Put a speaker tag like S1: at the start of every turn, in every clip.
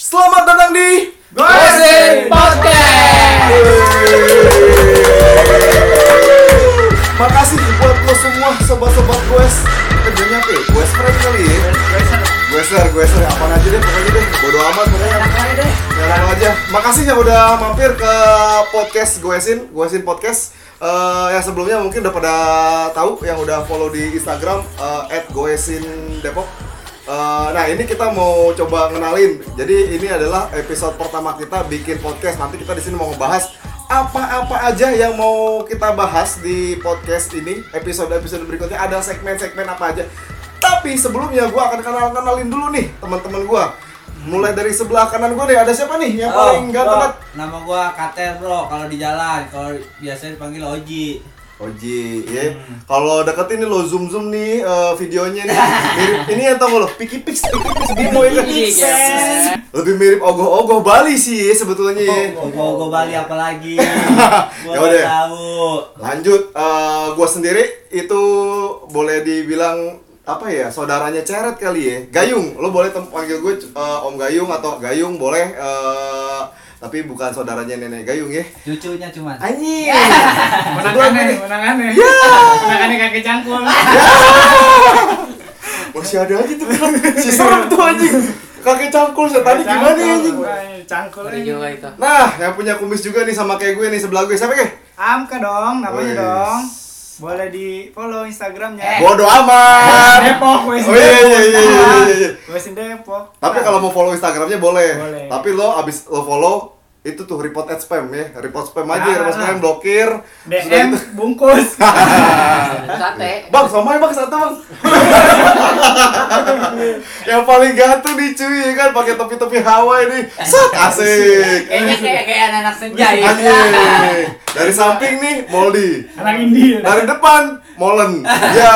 S1: Selamat datang di
S2: Gosip
S1: Makasih buat lo semua sobat-sobat Goes. Kerjanya apa? ya? Goes friend kali ya. Goeser, goeser, apa aja deh pokoknya deh. Bodo amat pokoknya. Jalan Ya, aja. Makasih yang udah mampir ke podcast Goesin, Goesin podcast. Eh, yang sebelumnya mungkin udah pada tahu yang udah follow di Instagram eh, @goesindepok. Eh, nah ini kita mau coba kenalin. Jadi ini adalah episode pertama kita bikin podcast. Nanti kita di sini mau ngebahas apa-apa aja yang mau kita bahas di podcast ini. Episode-episode berikutnya ada segmen-segmen apa aja. Tapi sebelumnya gua akan kenal-kenalin dulu nih teman-teman gua. Mulai dari sebelah kanan gua nih ada siapa nih yang
S2: Oh,
S1: paling ganteng? kan?
S2: bro.
S1: banget?
S2: Nama gua Kater bro, kalau di jalan, kalau biasanya dipanggil Oji.
S1: Oji, ya. Kalau deketin nih lo zoom zoom nih eh, videonya nih mirip ini yang tau gak lo Piki Pix, Piki Pix Bimo ya kan?
S3: Piki Pix, ya.
S1: Lebih mirip ogoh-ogoh Bali sih ya, sebetulnya ya.
S2: Gua gua Bali apa lagi? Gua
S1: Yaudah.
S2: nggak tahu.
S1: Lanjut, eh, gua sendiri itu boleh dibilang apa ya saudaranya ceret kali ya Gayung, lo boleh tem- panggil gue eh, Om Gayung atau Gayung boleh eh, tapi bukan saudaranya nenek Gayung ya.
S2: Cucunya cuman.
S1: Anjing.
S3: Menangannya nih, menangannya.
S1: Ya.
S3: Menangannya kakek cangkul.
S1: Ah, Masih ada aja tuh kan. Si serem tuh anjing. Kakek cangkul setan ini gimana ya, anjing?
S3: Ay, Cangkul aja.
S4: itu.
S1: Nah, yang punya kumis juga nih sama kayak gue nih sebelah gue siapa kek?
S3: Amka dong, namanya
S1: Wes.
S3: dong. Boleh di follow Instagramnya.
S1: Bodoh Eh. amat.
S3: Depok, wes.
S1: Oh iya iya iya iya. iya, iya.
S3: Wesin Depok.
S1: Tapi
S3: Nah,
S1: kalau mau follow Instagramnya boleh.
S3: Boleh.
S1: Tapi lo abis lo follow itu tuh report ad spam ya, report spam aja,
S3: Nah,
S1: report spam
S3: nah.
S1: blokir. Sudah
S3: DM
S1: gitu.
S3: bungkus.
S4: Sate.
S1: Bang, sama ya, bang satu bang. yang paling ganteng nih cuy ya kan pakai topi-topi Hawaii nih. Set asik.
S4: Kayaknya kayak kayak anak-anak senja ya.
S1: Anjing. Dari samping nih Moldi.
S3: Anak indie.
S1: Dari depan Molen. Ya.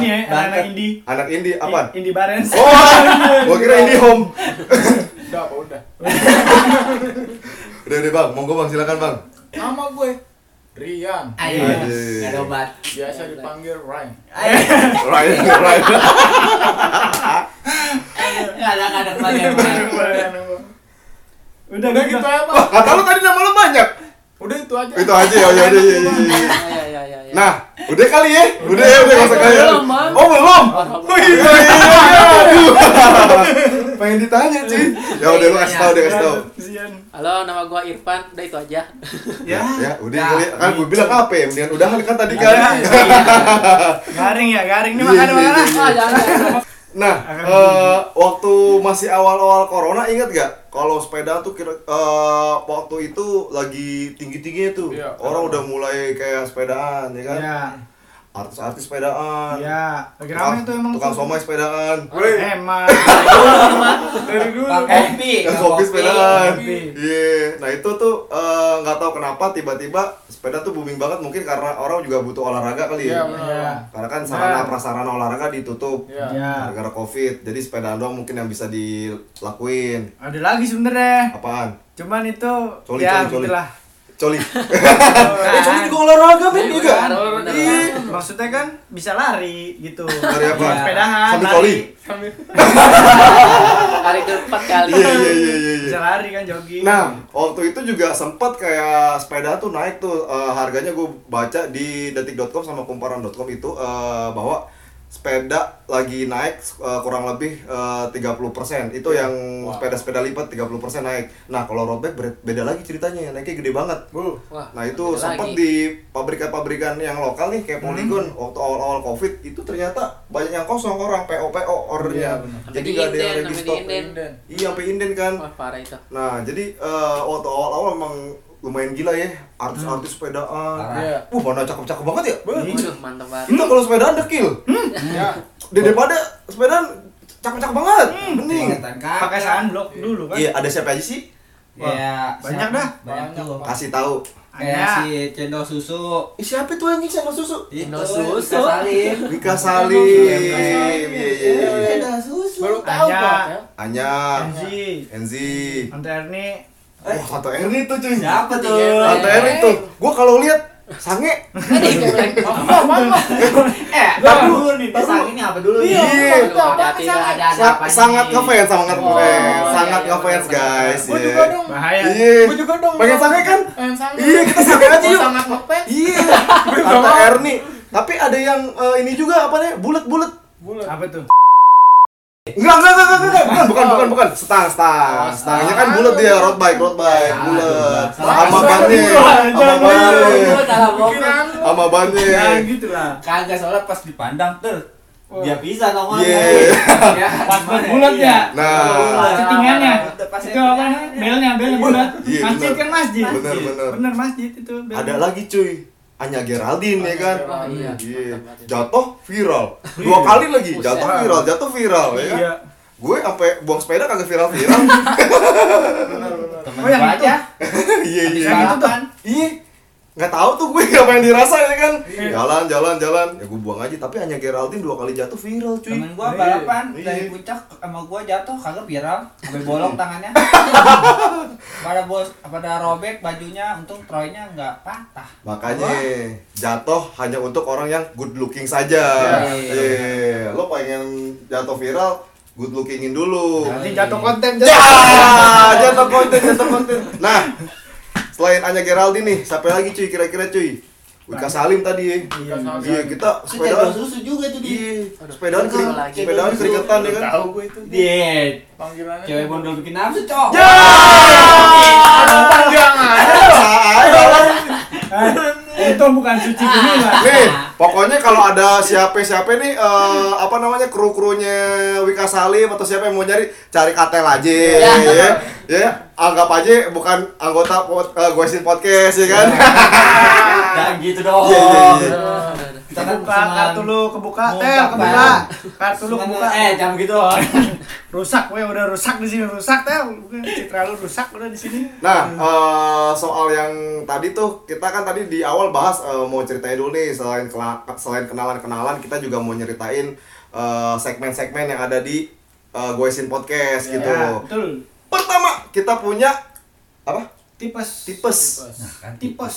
S3: Ini ya, Iya. anak indie.
S1: Anak indie apa?
S3: Indie Barens.
S1: Oh, gua kira indie home.
S3: Udah, apa udah.
S1: Udah deh bang, monggo bang silakan bang.
S5: Nama gue Rian.
S4: Ayo.
S1: Anjing.
S4: Gak ada obat.
S5: Biasa dipanggil Ryan.
S1: Ryan, Ryan.
S4: Gak ada gak ada kebanyakan.
S3: Udah
S5: Udah
S3: gitu.
S5: gitu aja,
S1: Wah,
S5: Bang.
S1: kata lu tadi nama lu banyak.
S5: Udah itu aja.
S1: Itu aja ya, udah, udah, udah, udah.
S4: Ya ya ya ya.
S1: Nah, udah kali ya? Udah ya, udah nggak usah kali ya.
S4: Belum, Bang.
S1: Oh, belum. Oh iya, iya, iya, aduh. Pengen ditanya, cuy. Ya udah lu kasih tahu, deh kasih tahu.
S3: Kasian.
S6: Halo, nama gua Irfan. Udah itu aja.
S3: Ya,
S1: Ya, udah kali ya. Kan gue bilang apa ya? Mendingan udahan kan tadi kan.
S3: garing ya, garing nih
S1: Iya,
S3: makan
S1: iya,
S3: makan.
S1: iya,
S4: Ah jangan.
S1: Nah,
S3: Akan
S1: eh, waktu masih awal-awal corona ingat gak? Kalau sepeda tuh kira eh, waktu itu lagi tinggi-tingginya tuh.
S5: Iya.
S1: Orang udah mulai kayak sepedaan, ya kan?
S3: Ya,
S1: Artis-artis sepedaan.
S3: ya. Lagi
S1: Tukang-
S3: rame tuh emang.
S1: tukang
S3: tuh.
S1: somai sepedaan.
S5: Iya,
S3: Emang. Dari dulu.
S4: Bang Kopi.
S1: Yang
S4: Bang
S1: kopi sepedaan.
S3: Kopi.
S1: Iya. Nah, itu tuh eh, nggak tahu kenapa tiba-tiba sepeda tuh booming banget mungkin karena orang juga butuh olahraga kali ya.
S5: Iya, benar.
S3: Ya.
S1: Karena kan sarana
S3: Nah.
S1: prasarana olahraga ditutup.
S5: Iya.
S3: Ya.
S1: Gara-gara Covid. Jadi sepedaan doang mungkin yang bisa dilakuin.
S3: Ada lagi sebenernya.
S1: Apaan?
S3: Cuman itu
S1: Coli,
S3: ya
S1: coli, coli.
S3: gitulah.
S1: Coli. eh, coli juga olahraga, men. Iya nggak?
S4: Bener, bener.
S1: Iya.
S3: Maksudnya kan bisa lari gitu.
S1: Lari apa?
S3: Ya, Sepedahan,
S1: Sambil
S3: lari.
S1: coli.
S4: Kali keempat kali.
S1: Iya, iya, iya, iya, iya.
S3: Bisa lari kan jogging.
S1: Nah, waktu itu juga sempat kayak sepeda tuh naik tuh eh, harganya gue baca di detik.com sama kumparan.com itu eh, bahwa sepeda lagi naik eh, kurang lebih eh, 30%. Itu yang sepeda-sepeda lipat 30% naik. Nah, kalau road bike ber- beda lagi ceritanya, naiknya gede banget.
S4: Wah.
S1: Nah, itu
S4: beda
S1: sempat
S4: lagi.
S1: di pabrikan-pabrikan yang lokal nih kayak Polygon waktu awal-awal Covid itu ternyata banyak yang kosong orang PO-PO ordernya. Jadi nggak ada yang
S4: Sampai
S1: ready
S4: di
S1: stock.
S4: inden, sampai
S1: Iya, sampai inden kan.
S4: Wah, parah itu.
S1: Nah, jadi eh, waktu awal-awal emang lumayan gila ya artis-artis sepedaan.
S5: Iya.
S1: Uh, mana cakep-cakep banget ya?
S4: Waduh, mantap banget.
S1: Kita kalau sepedaan dekil. Iya.
S5: Ya.
S1: Daripada sepedaan cakep-cakep banget. Mending.
S2: Kelihatan kakek.
S3: pakai sunblock dulu kan.
S1: Iya, ada siapa aja sih?
S2: Ya,
S3: Banyak
S2: siapa?
S3: dah.
S2: Banyak tuh.
S1: Kasih tahu.
S2: Kayak
S3: Ada.
S2: si cendol susu.
S1: Ih, siapa tuh anjing sama susu?
S2: Itu
S4: Cendol susu.
S2: Ika Salim.
S1: Rika Salim. Iya, iya, iya.
S2: Cendol susu.
S5: Baru tahu
S3: Tanya.
S5: Bang, ya.
S1: Anya,
S3: Anji.
S1: Enzi.
S3: Tante Erni.
S1: Wah, Tante Erni tuh cuy.
S2: Siapa tuh?
S1: Tante Erni tuh. Gua kalau lihat sange
S4: Aduh, geblek.
S7: Eh, apa dulu nih? Pesan ini apa dulu nih?
S1: Iya.
S4: Aduh, hati-hati
S7: Tidak
S4: dah.
S7: ada ada
S1: Sa-
S7: apa
S1: sangat ngefans sangat ngefans
S4: iya,
S1: sangat
S4: iya,
S1: ngefans
S4: bener,
S1: guys
S5: Gua
S1: iya.
S5: juga dong.
S3: Bahaya.
S1: iya
S5: Gua juga dong.
S1: pengen sange kan
S5: Pengen sange.
S1: iya kita sange aja
S5: Gua
S1: yuk
S5: sangat ngefans.
S1: iya kata Erni tapi ada yang eh, ini juga apa nih bulat bulat
S5: Bulat.
S3: Apa tuh?
S1: Enggak, enggak, enggak, enggak, enggak, bukan, bukan, bukan, bukan, setang, setang,
S5: Oh,
S1: setangnya kan bulat dia, road bike, road bike, bulat,
S2: Salah.
S1: sama
S2: Salah.
S1: bannya, sama
S3: Jangan.
S1: bannya,
S4: Gua salah bohong.
S5: Pikiran lu.
S1: sama bannya,
S3: Ya gitu lah.
S2: Kagak soalnya pas dipandang ter dia bisa nongol.
S1: Iya.
S2: Ya,
S3: Pas bulat ya.
S1: nah,
S3: Settingannya.
S7: Pas
S3: Itu apa nih? Belnya, belnya bulat.
S1: Iya,
S3: ya. Masjid
S1: bener.
S3: kan masjid.
S1: Bener, bener.
S3: Bener masjid itu. bel.
S1: ada lagi cuy, Anya Geraldine ya kan,
S4: Oh, iya.
S1: Iya. Oh,
S4: Mantap banget.
S1: jatuh viral, dua kali lagi,
S4: Buset.
S1: jatuh viral, jatuh viral, ya kan?
S3: Iya.
S1: gue sampai buang sepeda kagak viral viral,
S7: kan?
S2: Temen
S3: Oh yang
S2: gua
S3: itu.
S2: aja.
S1: iya iya,
S3: Yang itu tuh.
S1: iya, nggak tahu tuh gue apa yang dirasa ya kan, jalan jalan jalan, ya gue buang aja, tapi Anya Geraldine dua kali jatuh viral cuy,
S2: Temen gua balapan
S1: Iya.
S2: dari puncak sama gua jatuh kagak viral,
S3: Iya.
S2: gue bolong tangannya. pada bos pada robek bajunya, untung troynya nggak patah.
S1: Makanya jatuh hanya untuk orang yang good looking saja.
S4: Iya.
S1: Iya. Lo pengen jatuh viral, good lookingin dulu.
S5: Nanti jatuh konten.
S1: Ya, jatuh konten, jatuh konten. Nah, selain Anya Geraldine nih, siapa lagi cuy kira-kira cuy? Wika Salim tadi ya.
S5: Iya,
S1: Iya, kita
S7: Itu jadwal
S1: sepedaan.
S7: susu juga tuh di.
S1: Iya, sepedaan
S4: Aduh,
S1: kering,
S4: lagi.
S1: sepedaan keringetan ya kan.
S5: Tahu gue itu.
S2: Dia
S5: Panggilannya.
S2: cewek bondol bikin nafsu, cok.
S1: Ya. Ada lah.
S3: Itu bukan cuci gini lah.
S1: Nih, pokoknya kalau ada siapa-siapa nih eh, apa namanya kru-krunya Wika Salim atau siapa yang mau nyari, cari Katel aja ya. ya. anggap aja bukan anggota pod, eh, Goisin podcast ya kan.
S2: Jangan gitu dong.
S1: Iya, iya, iya.
S2: Kita kan
S3: Kebuka kartu lu, kebuka.
S2: Mau
S3: Eh,
S2: buka,
S3: kebuka.
S2: Bang.
S3: Kartu lu
S2: Cuman,
S3: kebuka.
S2: Eh, jangan gitu. Om.
S3: Rusak, weh udah rusak di sini rusak tel. Bukan, Citra lu rusak udah di sini.
S1: Nah, eh, soal yang tadi tuh kita kan tadi di awal bahas eh, mau ceritain dulu nih selain kela- selain kenalan-kenalan kita juga mau nyeritain eh, segmen-segmen yang ada di eh, Goisin podcast gitu.
S3: Ya, betul.
S1: Pertama, kita punya apa?
S3: Tipes.
S1: Tipes.
S3: Tipes.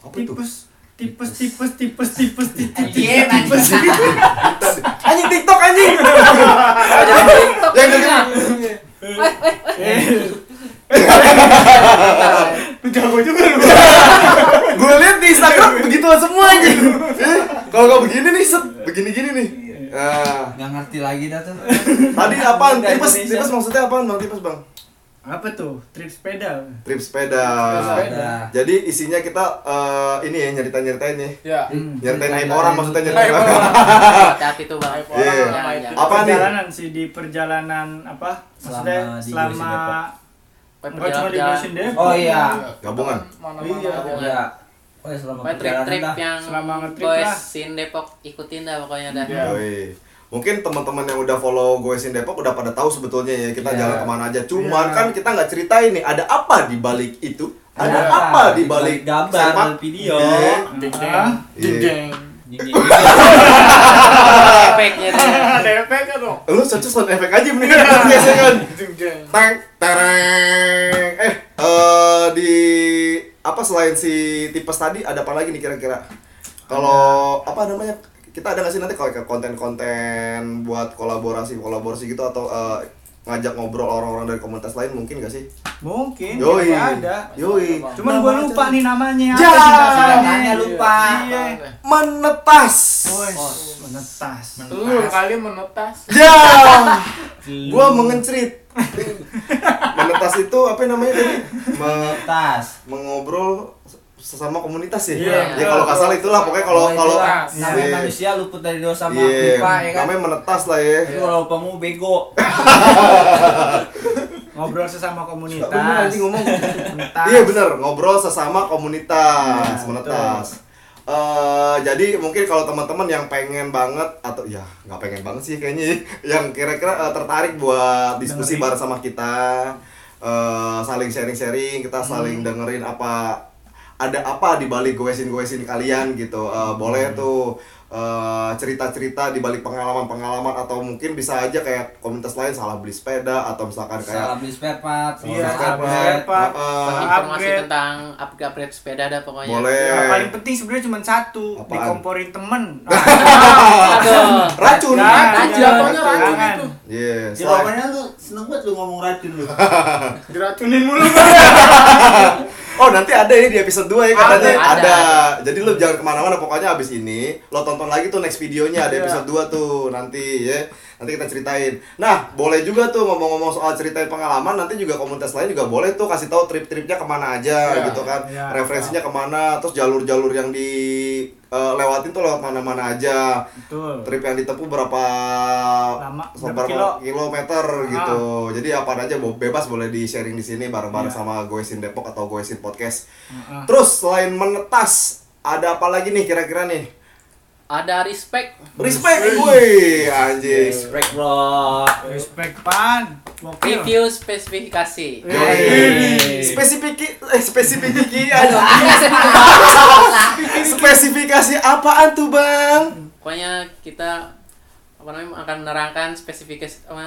S1: Apa itu?
S3: Tipes. Tipes, tipes, tipes, tipes, tipes.
S2: Iya,
S3: tipes.
S1: Anjing TikTok anjing. Yang jadi-
S3: Lu jago juga lu.
S1: gue lihat di Instagram begitu semua anjing. Eh, Kalau nggak begini nih, set begini-gini nih. Nah,
S2: Nggak ngerti lagi dah tuh.
S1: tadi apaan?
S2: Dari
S1: Tipes,
S2: Indonesia.
S1: tipes maksudnya apaan? Bang tipes, Bang.
S3: Apa tuh? Trip sepeda.
S1: Trip sepeda.
S2: Nah,
S1: Jadi isinya kita eh, ini ya nyeritain-nyeritain ya.
S5: Ya.
S2: Hmm,
S1: Nyeritain aib orang maksudnya nyeritain
S5: Aib
S1: orang.
S5: orang.
S4: Hati-hati tuh bang.
S5: Aib orang
S1: Iya.
S5: sama aib.
S1: Apa nih?
S3: perjalanan sih di perjalanan apa? Maksudnya
S2: Selama di
S3: selama
S2: Indonesia
S3: enggak cuma di
S4: Perjalanan.
S3: Indonesia deh.
S2: Oh iya.
S1: Gabungan.
S5: Mana-mana
S3: Iya.
S5: aja.
S2: Iya. Oh ya selama
S4: Pokoknya trip-trip
S2: perjalanan dah.
S4: yang
S3: Selama nge-trip lah.
S4: goesin Depok ikutin dah pokoknya dah.
S5: Iya.
S1: Yoi. Mungkin teman-teman yang udah follow Goesin Depok udah pada tahu sebetulnya ya kita
S2: Iya.
S1: jalan kemana aja. Cuman
S3: Iya.
S1: kan kita nggak ceritain nih ada apa di balik itu. Ada
S2: Ada
S1: apa di balik
S2: Iya. gambar
S1: sepak?
S2: dan video?
S1: Iya.
S3: Ah,
S1: Iya.
S4: Efeknya tuh.
S5: Ada efeknya dong.
S1: Lu cocok sound efek aja mendingan biasanya kan.
S5: Jeng jeng.
S1: Teng tereng. Eh eh, di apa selain si tipes tadi ada apa lagi nih kira-kira? Kalau apa namanya? Kita ada nggak sih nanti kalau kayak konten-konten buat kolaborasi-kolaborasi gitu atau eh, ngajak ngobrol orang-orang dari komunitas lain mungkin nggak sih?
S3: Mungkin
S1: Yoi.
S3: nggak ada.
S1: Yoi.
S3: Cuman gua lupa nih
S1: Ya.
S3: namanya. Apa sih
S5: Ah,
S2: Namanya
S3: bahasanya?
S2: lupa. Oh,
S3: Iya.
S1: Menetas.
S3: Wes, menetas.
S5: Lu kali menetas.
S1: Ya. Gua mengencrit. Menetas itu apa namanya tadi? Me-
S2: tas.
S1: mengobrol sesama komunitas ya.
S5: Iya.
S1: Ya kalau nggak salah itulah pokoknya kalau kalau
S2: Oh, Itulah,
S1: Iya.
S2: namanya manusia luput dari dosa sama
S1: Iya,
S2: lupa ya kan.
S1: namanya menetas lah ya.
S2: Tapi kalau lupa mau bego.
S3: Ngobrol
S1: Nggak
S3: sesama
S1: bener
S3: komunitas.
S1: anjing ngomong.
S3: Menetas.
S1: Iya bener, ngobrol sesama komunitas,
S3: Iya,
S1: menetas. Eh, jadi mungkin kalau teman-teman yang pengen banget atau ya nggak pengen banget sih kayaknya ya. yang kira-kira eh, tertarik buat diskusi
S3: Dengerin.
S1: bareng sama kita eh, saling sharing-sharing kita
S3: Hmm.
S1: saling
S3: Hmm.
S1: dengerin apa ada apa di balik goesin-goesin kalian gitu Eh, boleh tuh eh, cerita-cerita di balik pengalaman-pengalaman atau mungkin bisa aja kayak komunitas lain salah beli sepeda atau misalkan kayak
S2: salah beli spare part
S1: salah
S3: Iya,
S1: spare
S3: salah beli
S1: part,
S3: spare part.
S1: eh, eh,
S4: Informasi
S3: upgrade.
S4: tentang upgrade sepeda ada pokoknya.
S1: boleh
S3: iya. Yang paling penting sebenarnya cuma satu,
S1: Iya. Apaan?
S3: dikomporin temen. Ah,
S4: Aduh.
S1: racun Racun.
S3: Jangan, jangan,
S5: Jatuhnya racun
S3: jangan.
S5: itu.
S1: Yes.
S7: Jawabannya lu seneng banget lu ngomong racun lu.
S5: Diracunin mulu.
S1: Oh nanti ada ini di episode 2 ya katanya ada.
S4: Ada, ada.
S1: Jadi lu jangan kemana-mana pokoknya abis ini lo tonton lagi tuh next videonya ada episode 2 tuh nanti ya nanti kita ceritain. Nah boleh juga tuh ngomong-ngomong soal ceritain pengalaman nanti juga komunitas lain juga boleh tuh kasih tahu trip-tripnya kemana aja
S5: Iya,
S1: gitu kan
S3: iya.
S1: referensinya kemana terus jalur-jalur yang di eh, lewatin tuh lewat mana-mana aja
S3: Betul.
S1: trip yang ditempuh berapa
S3: Lama,
S1: seberapa
S3: berapa kilo. Ah.
S1: kilometer gitu. Jadi apa aja bo- bebas boleh di sharing di sini bareng-bareng
S3: Iya.
S1: sama Goesin Depok atau Goesin Podcast.
S3: Ah.
S1: Terus selain menetas, ada apa lagi nih kira-kira nih?
S4: Ada respect.
S1: Iya. Respect, woi anjing.
S7: Respect bro.
S3: Respect pan. Gokil.
S4: Review spesifikasi.
S3: Iya.
S1: Yoi.
S3: Yeay.
S1: Spesifiki, eh, spesifikasi, aduh,
S4: Lah.
S1: spesifikasi apaan tuh bang?
S4: Pokoknya kita apa namanya akan menerangkan spesifikasi apa?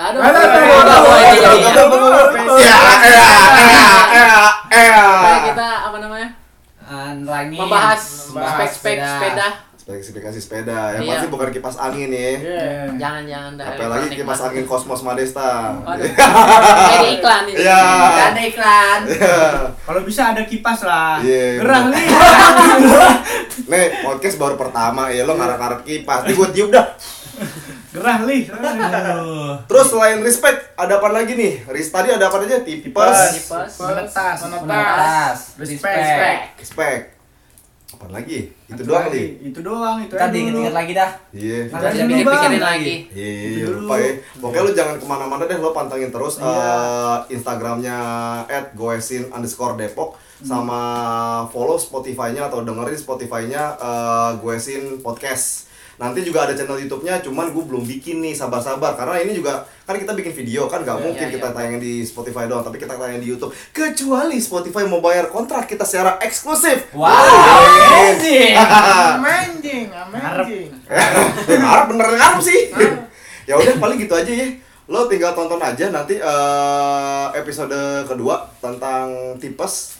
S4: Aduh.
S5: Aduh, aduh, aduh, aduh,
S4: Pokoknya
S1: Aduh, aduh, aduh, aduh. Ya, ya, ya, ya, ya.
S4: kita apa namanya?
S2: Ah, nerangin
S4: Membahas
S2: membahas
S4: spek-spek sepeda.
S1: Spesifikasi sepeda, yang
S4: Iya.
S1: pasti bukan kipas angin ya.
S4: Jangan-jangan dah.
S1: Apalagi
S4: elektronik
S1: kipas
S4: mah.
S1: angin Cosmos Madesta.
S3: Oh,
S4: Waduh. Kayak di iklan ini.
S1: Iya.
S4: Gak ada iklan.
S3: Kalau bisa ada kipas lah.
S1: Iya.
S3: Gerah nih.
S1: Nih, podcast baru pertama ya lo ngarep-ngarep kipas. Nih gue tiup dah.
S3: Gerah lih.
S1: Terus selain respect, ada apa lagi nih? Ris tadi ada apa aja? Tipes,
S4: Kipas.
S3: Menetas.
S5: Menetas.
S2: menetas
S3: Respect.
S2: respect
S1: respect. Apa lagi? Itu
S3: Satu
S1: doang
S3: lagi. Nah,
S1: nih.
S3: Itu doang, itu
S2: kita
S3: aja dulu.
S2: diinget-inget lagi dah
S1: Iya.
S3: Ada
S4: Jangan
S3: dulu,
S4: pikir-pikirin
S3: Bang.
S4: lagi.
S1: Iya,
S3: Itu
S1: lupa
S3: dulu.
S1: ya. Pokoknya lu jangan kemana-mana deh, lo pantengin terus
S4: Iya.
S1: eh, Instagramnya at goesin underscore Depok sama follow Spotify-nya atau dengerin Spotify-nya eh, goesin podcast. Nanti juga ada channel YouTube-nya, cuman gue belum bikin nih, sabar-sabar. Karena ini juga kan kita bikin video kan nggak mungkin
S4: iya,
S1: kita tayangin di Spotify doang, tapi kita tayangin di YouTube. Kecuali Spotify mau bayar kontrak kita secara eksklusif.
S2: Wow,
S1: Anjing.
S5: Amanjing, amanjing.
S1: Eh, Ngarep bener ngarep sih.
S2: Ah.
S1: ya udah paling gitu aja ya. Lo tinggal tonton aja nanti eh, episode kedua tentang tipes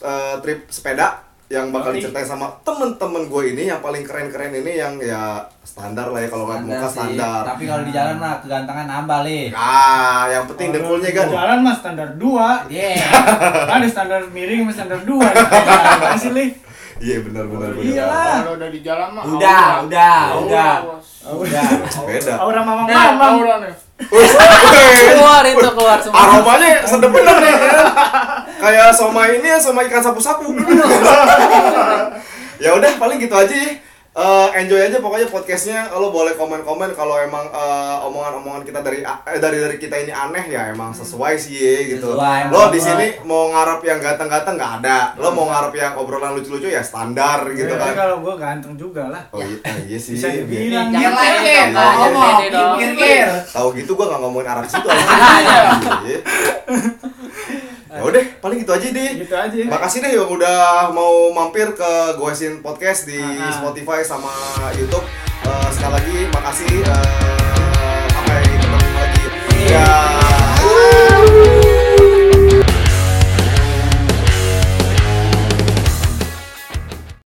S1: eh, trip sepeda yang bakal diceritain sama temen-temen gue ini yang paling keren-keren ini yang ya standar lah ya kalau nggak muka
S2: Standar sih.
S1: standar.
S2: tapi kalau di jalan mah kegantengan nambah lih
S1: Ah, yang penting dengkulnya kan.
S3: Jalan mah standar 2.
S2: yeah
S3: Ada standar miring sama standar 2. Apa sih, Lih?
S1: Iya benar
S2: Oh,
S1: benar benar.
S3: Iyalah.
S5: Kalau udah di jalan mah.
S7: Udah,
S5: aura.
S7: udah,
S1: Oh.
S5: Aura,
S7: udah.
S5: bos.
S7: Udah.
S2: Oh.
S1: Sepeda.
S3: Aura mama
S5: Nah,
S3: mama.
S5: aura nih.
S1: Wih, wih.
S4: Keluar itu keluar semua.
S1: Aromanya sedep bener nih. ya. Kayak soma ini ya, soma ikan sapu-sapu. ya udah paling gitu aja ya. Eh, enjoy aja pokoknya podcastnya lo boleh komen-komen kalau emang eh, omongan-omongan kita dari eh, dari dari kita ini aneh ya emang sesuai sih ya, gitu
S2: Sesuai,
S1: lo
S2: emang
S1: di
S2: sesuai.
S1: sini mau ngarep yang ganteng-ganteng nggak ada lo mau ngarep yang obrolan lucu-lucu ya standar gitu
S3: Gitu
S1: kan
S3: Kalau gua ganteng juga lah.
S1: oh iya, eh, iya sih
S3: Bisa
S1: iya.
S3: dibilang
S4: Jangan
S3: gitu. iya,
S4: lain
S7: Pikir,
S4: dong, jangan
S7: ngomong,
S4: pede dong.
S7: pikir.
S1: tahu gitu gua nggak ngomongin arah situ anjing. ya udah paling gitu aja deh
S3: Gitu aja.
S1: Makasih deh yang udah mau mampir ke Goesin Podcast di Spotify sama YouTube. Eh, sekali lagi makasih eh, Ya.